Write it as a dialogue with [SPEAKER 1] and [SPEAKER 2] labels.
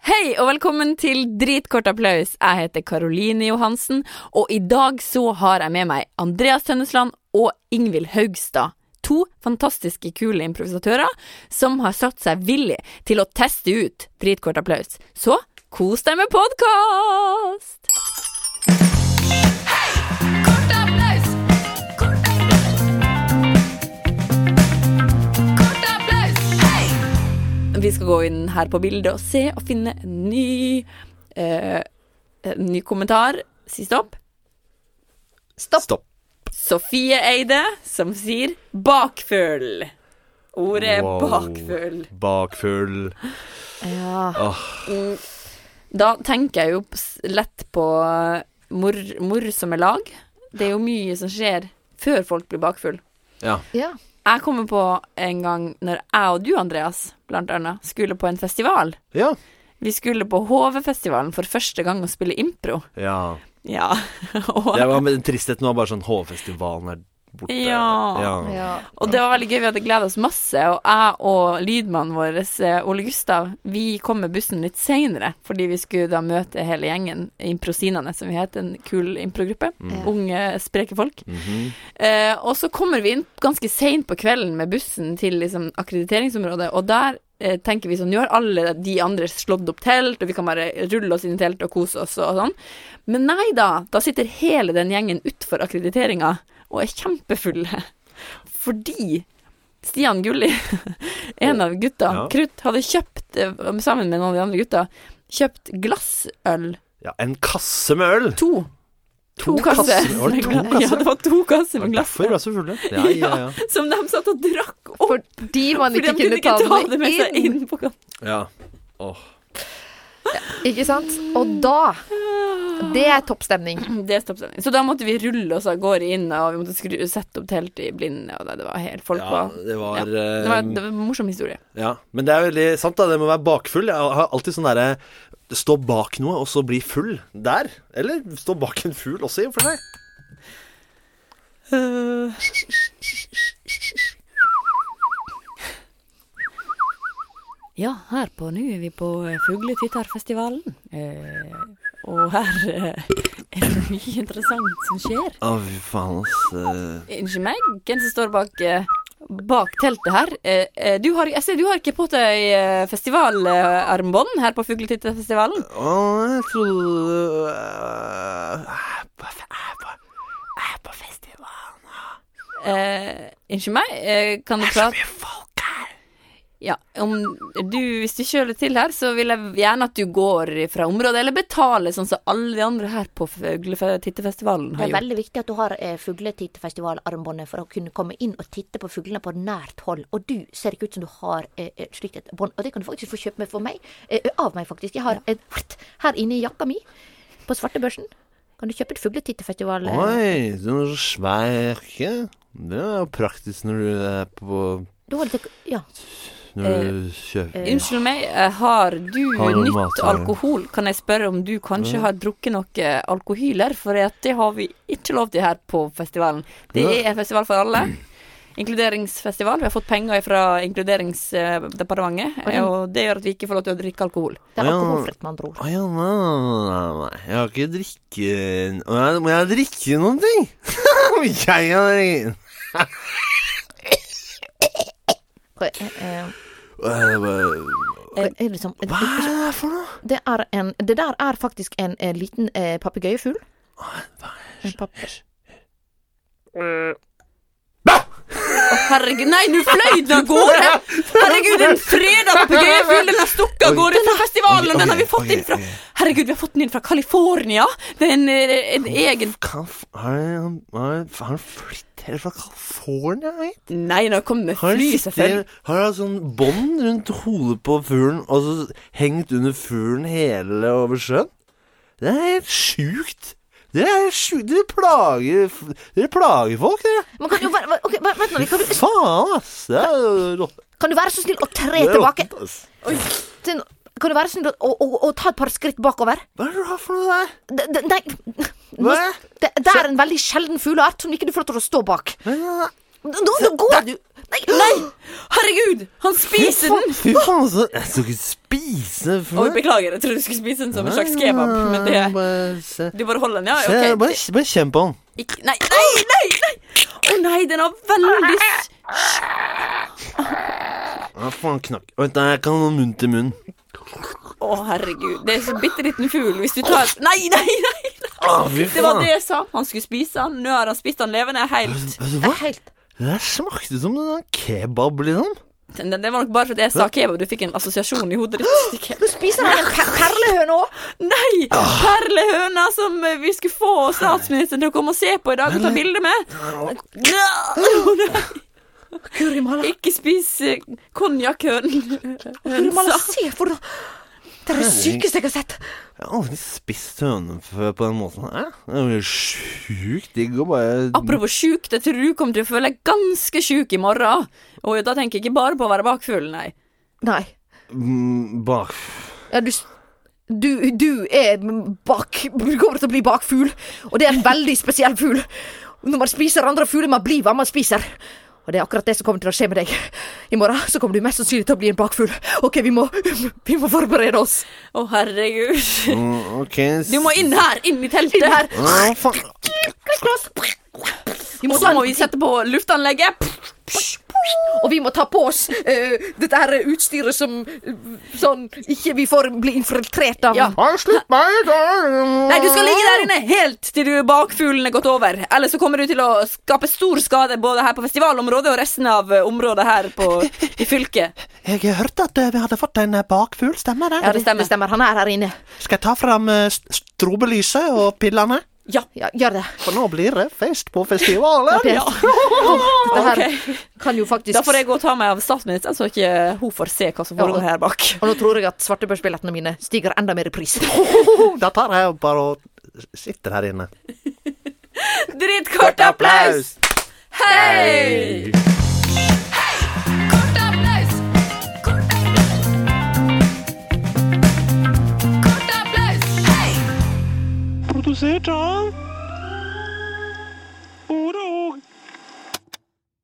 [SPEAKER 1] Hei og velkommen til Dritkort applaus. Jeg heter Karoline Johansen, og i dag så har jeg med meg Andreas Tønnesland og Ingvild Haugstad. To fantastiske kule improvisatører som har satt seg villig til å teste ut Dritkort applaus. Så kos deg med podkast! Vi skal gå inn her på bildet og se og finne en ny, eh, en ny kommentar. Si stopp.
[SPEAKER 2] Stopp.
[SPEAKER 1] Sofie Eide som sier 'bakfull'. Ordet er
[SPEAKER 2] Wow.
[SPEAKER 1] 'bakfull'.
[SPEAKER 2] Bakfull.
[SPEAKER 1] Ja.
[SPEAKER 2] Åh.
[SPEAKER 1] Mm. Da tenker jeg jo p- s- lett på eh, mor, morsomme lag. Det er jo mye som skjer før folk blir bakfull.
[SPEAKER 2] Ja.
[SPEAKER 3] Ja.
[SPEAKER 1] Jeg kommer på en gang når jeg og du, Andreas, blant annet, skulle på en festival.
[SPEAKER 2] Ja.
[SPEAKER 1] Vi skulle på HV-festivalen for første gang og spille impro.
[SPEAKER 2] ja.
[SPEAKER 1] Ja. og,
[SPEAKER 2] Det var med tristheten var bare sånn HV-festivalen er borte.
[SPEAKER 1] Ja.
[SPEAKER 2] ja.
[SPEAKER 3] ja.
[SPEAKER 1] og det var veldig gøy. Vi hadde gleda oss masse. Og jeg og lydmannen vår, eh, Ole Gustav, vi kom med bussen litt seinere. Fordi vi skulle da møte hele gjengen Improsinane, som vi het. En kul improgruppe.
[SPEAKER 3] Mm.
[SPEAKER 1] Unge, spreke folk.
[SPEAKER 2] Mhm.
[SPEAKER 1] Eh, og så kommer vi inn ganske seint på kvelden med bussen til liksom, akkrediteringsområdet, og der eh, tenker vi sånn Nå har alle de andre slått opp telt, og vi kan bare rulle oss inn i telt og kose oss og sånn. Men nei da, da sitter hele den gjengen utfor akkrediteringa og er kjempefulle. Fordi Stian Gulli, en av gutta,
[SPEAKER 2] Ja.
[SPEAKER 1] Krutt, hadde kjøpt, eh, sammen med noen av de andre gutta, kjøpt glassøl.
[SPEAKER 2] ja. En kasse med øl!
[SPEAKER 1] To. To, kasser.
[SPEAKER 2] kasser. Var det to kasser?
[SPEAKER 1] Ja, det var to kasser
[SPEAKER 2] Det var
[SPEAKER 1] med glass.
[SPEAKER 2] Derfor ble så fulle. Ja, ja, ja.
[SPEAKER 1] Som de satt og drakk opp
[SPEAKER 3] Fordi man
[SPEAKER 1] fordi de
[SPEAKER 3] ikke kunne ta det med
[SPEAKER 1] seg
[SPEAKER 3] inn.
[SPEAKER 1] inn på katten.
[SPEAKER 2] ja. Åh.
[SPEAKER 3] Ikke sant? Og da Det er toppstemning.
[SPEAKER 1] Det er stoppstemning. Så da måtte vi rulle oss av gårde inn, og vi måtte skru, sette opp telt i blinde, og det, det var helt folk
[SPEAKER 2] ja
[SPEAKER 1] var
[SPEAKER 2] det var,
[SPEAKER 1] Ja. Det var, det
[SPEAKER 2] eh,
[SPEAKER 1] var en morsom historie.
[SPEAKER 2] ja. Men det er veldig sant, da. Det med å være bakfull. Jeg har alltid sånn derre Stå bak noe, og så bli full der. Eller stå bak en fugl også, i og for seg.
[SPEAKER 1] Ja, her på nå er vi på eh, Fugletittarfestivalen. Eh, og her eh, er det mye interessant som skjer.
[SPEAKER 2] Å, fy faen, ass. Eh,
[SPEAKER 1] Unnskyld meg, hvem som står bak, eh, bak teltet her? Eh, eh, du har, jeg ser du har ikke på deg eh, festivalarmbånd her på Fugletittarfestivalen.
[SPEAKER 2] Å, jeg trodde eh, jeg er på- jeg er på- Jeg er på festival.
[SPEAKER 1] Eh, unnskyld meg, eh, kan du prate
[SPEAKER 2] folk her.
[SPEAKER 1] ja, om du, Hvis du kjøler til her, så vil jeg gjerne at du går fra området, eller betaler, sånn som alle de andre her på Fugletitterfestivalen
[SPEAKER 4] Det
[SPEAKER 1] har
[SPEAKER 4] er
[SPEAKER 1] gjort.
[SPEAKER 4] veldig viktig at du har eh, fugletitterfestivalarmbåndet for å kunne komme inn og titte på fuglene på nært hold. Og du ser ikke ut som du har eh, et slikt et bånd. Og det kan du faktisk få kjøpt med for meg. Eh, av meg, faktisk. Jeg har et hart her inne i jakka mi. På svartebørsen. Kan du kjøpe et fugletitterfestival? eh,
[SPEAKER 2] Oi, du er så svær jakke. Det er jo praktisk når du er på
[SPEAKER 4] Du har litt, ja.
[SPEAKER 2] Når du kjøper
[SPEAKER 1] Unnskyld meg, eh, har du
[SPEAKER 2] Har du
[SPEAKER 1] nytt
[SPEAKER 2] mat, eh? Mm. ja.
[SPEAKER 1] alkohol? Kan jeg spørre om du kanskje har drukket noe eh, alkohyler? For at det har vi ikke lov til her på festivalen. Det
[SPEAKER 2] Ja.
[SPEAKER 1] er en festival for alle. Inkluderingsfestival. Vi har fått penger fra Inkluderingsdepartementet, eh,
[SPEAKER 4] Oi.
[SPEAKER 1] og det gjør at vi ikke får lov til å drikke alkohol.
[SPEAKER 4] Det er
[SPEAKER 2] Ja.
[SPEAKER 4] alkoholfritt, med andre ord.
[SPEAKER 2] Å ja, nei, nei, nei, nei. Jeg har ikke drikke... Å, jeg- Må jeg drikke noen ting? jeg har drikke...
[SPEAKER 4] Eh, eh,
[SPEAKER 2] Eh, hva-
[SPEAKER 4] eh, er liksom,
[SPEAKER 2] Hva er det der for noe?
[SPEAKER 4] det, er en, det der er faktisk en, eh, liten eh, papegøyefugl. En pap-
[SPEAKER 1] Herregud, nei, nå fløy den av gårde! Herregud, en fredag på Gøyefjell, den har stukket av gårde fra festivalen, og den har vi fått inn fra Herregud, vi har fått den inn fra California! Det er en, eh, en egen
[SPEAKER 2] Kan, f- har han har han- har han flyttet helt fra California? jeg?
[SPEAKER 1] Nei, den har kommet med
[SPEAKER 2] Har han
[SPEAKER 1] fly, selvfølgelig.
[SPEAKER 2] sittet- har han sånn bånd rundt hodet på fuglen, og så hengt under fuglen hele over sjøen? Det er helt sjukt. Dere er helt sjukt. Dere plager, f- dere plager folk, dere.
[SPEAKER 4] Man kan jo være ok, vent nå, vi kan,
[SPEAKER 2] Faen, ass. Det er jo rått.
[SPEAKER 4] kan du være så snill å tre
[SPEAKER 2] Det er
[SPEAKER 4] tilbake?
[SPEAKER 2] rått, ass.
[SPEAKER 4] Sånn, Kan du være snill å, å, å ta et par skritt bakover?
[SPEAKER 2] Hva er det du har for noe der?
[SPEAKER 4] D d nei,
[SPEAKER 2] Hva?
[SPEAKER 4] det, det er en veldig sjelden fugleart som ikke du får lov til å stå bak.
[SPEAKER 2] Men, eh,
[SPEAKER 3] Nå, nå går du Nei!
[SPEAKER 1] Herregud! Han spiser den!
[SPEAKER 2] Fy faen, så Jeg skal ikke spise
[SPEAKER 1] Oi,
[SPEAKER 2] før
[SPEAKER 1] beklager, jeg trodde du skulle spise den som en slags kebab, men det
[SPEAKER 2] Bare se.
[SPEAKER 1] Du bare holder den, ja?
[SPEAKER 2] Se,
[SPEAKER 1] Ah, OK.
[SPEAKER 2] bare, bare kjenn på den.
[SPEAKER 1] Ikke, nei, nei, nei! nei. Å nei, den har veldig s-
[SPEAKER 2] Ja, faen, knakk. Vent, nei, jeg kan ha noe munn til munn.
[SPEAKER 1] Å, herregud. Det er så bitte liten fugl. Hvis du tar Nei, nei, nei!
[SPEAKER 2] Å, Ah, fy
[SPEAKER 1] Det var
[SPEAKER 2] faen.
[SPEAKER 1] det jeg sa. Han skulle spise den. Nå har han spist den levende helt.
[SPEAKER 2] Vet du
[SPEAKER 3] Det
[SPEAKER 2] hva?
[SPEAKER 3] er helt
[SPEAKER 2] Det der smakte som en sånn kebab, liksom.
[SPEAKER 1] Det det var nok bare fordi jeg sa kebab. Du fikk en assosiasjon i hodet ditt. til kebab.
[SPEAKER 3] Nå spiser han en per perlehøne òg!
[SPEAKER 1] Nei!
[SPEAKER 2] Ah.
[SPEAKER 1] Perlehøna som eh, vi skulle få statsministeren til å komme og se på i dag og ta bilde med. Nå, nei.
[SPEAKER 3] Guri malla.
[SPEAKER 1] Ikke spis eh, konjakkhønen.
[SPEAKER 3] Guri malla, se for noe! Det er det sykeste jeg har sett.
[SPEAKER 2] Jeg har aldri spist høne før på den måten her. Det blir sjukt digg å bare
[SPEAKER 1] Apropos sjuk, det tror du kommer til å føle deg ganske sjuk i morgen. Og da tenker jeg ikke bare på å være bakfull, nei.
[SPEAKER 3] Nei.
[SPEAKER 2] Mm, Bak...
[SPEAKER 3] Ja, du, s- du, du er bak... Du kommer til å bli bakfugl, og det er en veldig spesiell fugl. Når man spiser andre fugler, man blir hva man spiser. Og det er akkurat det som kommer til å skje med deg. I morgen så kommer du mest sannsynlig til å bli en bakfugl. OK, vi må, vi må forberede oss.
[SPEAKER 1] Å, herregud.
[SPEAKER 2] Mm, Ok
[SPEAKER 1] Du må inn her, inn i teltet.
[SPEAKER 3] Inn her.
[SPEAKER 2] Å, faen.
[SPEAKER 3] Vi må
[SPEAKER 1] Og
[SPEAKER 3] ta
[SPEAKER 1] så må vi sette på luftanlegget.
[SPEAKER 3] Og vi må ta på oss eh, dette her utstyret som eh, sånn ikke vi får bli infiltrert av.
[SPEAKER 1] Ja.
[SPEAKER 2] Nei, Slipp meg!
[SPEAKER 1] Nei, du skal ligge der inne helt til du bakfuglen er gått over. Ellers så kommer du til å skape stor skade både her på festivalområdet og resten av eh, området her på, i fylket.
[SPEAKER 5] Jeg hørte at eh, vi hadde fått en eh, bakfugl, stemmer det?
[SPEAKER 3] Ja, det stemmer. det stemmer. Han er her inne.
[SPEAKER 5] Skal jeg ta fram eh, st- strobelyset og pillene?
[SPEAKER 1] Ja.
[SPEAKER 3] Ja, gjør det.
[SPEAKER 5] For nå blir det fest på festivalen.
[SPEAKER 3] Per. Dette her
[SPEAKER 1] Ok.
[SPEAKER 3] kan jo faktisk
[SPEAKER 1] Da får jeg gå og ta meg av statsministeren, så ikke hun får se hva som foregår her bak.
[SPEAKER 3] Og nå tror jeg at svartebørsbillettene mine stiger enda mer i pris.
[SPEAKER 5] Da tar jeg bare og sitter her inne.
[SPEAKER 1] Drittkort applaus! Hei!
[SPEAKER 6] Kort applaus! Kort applaus! Kort applaus! Hei!
[SPEAKER 5] Produsert av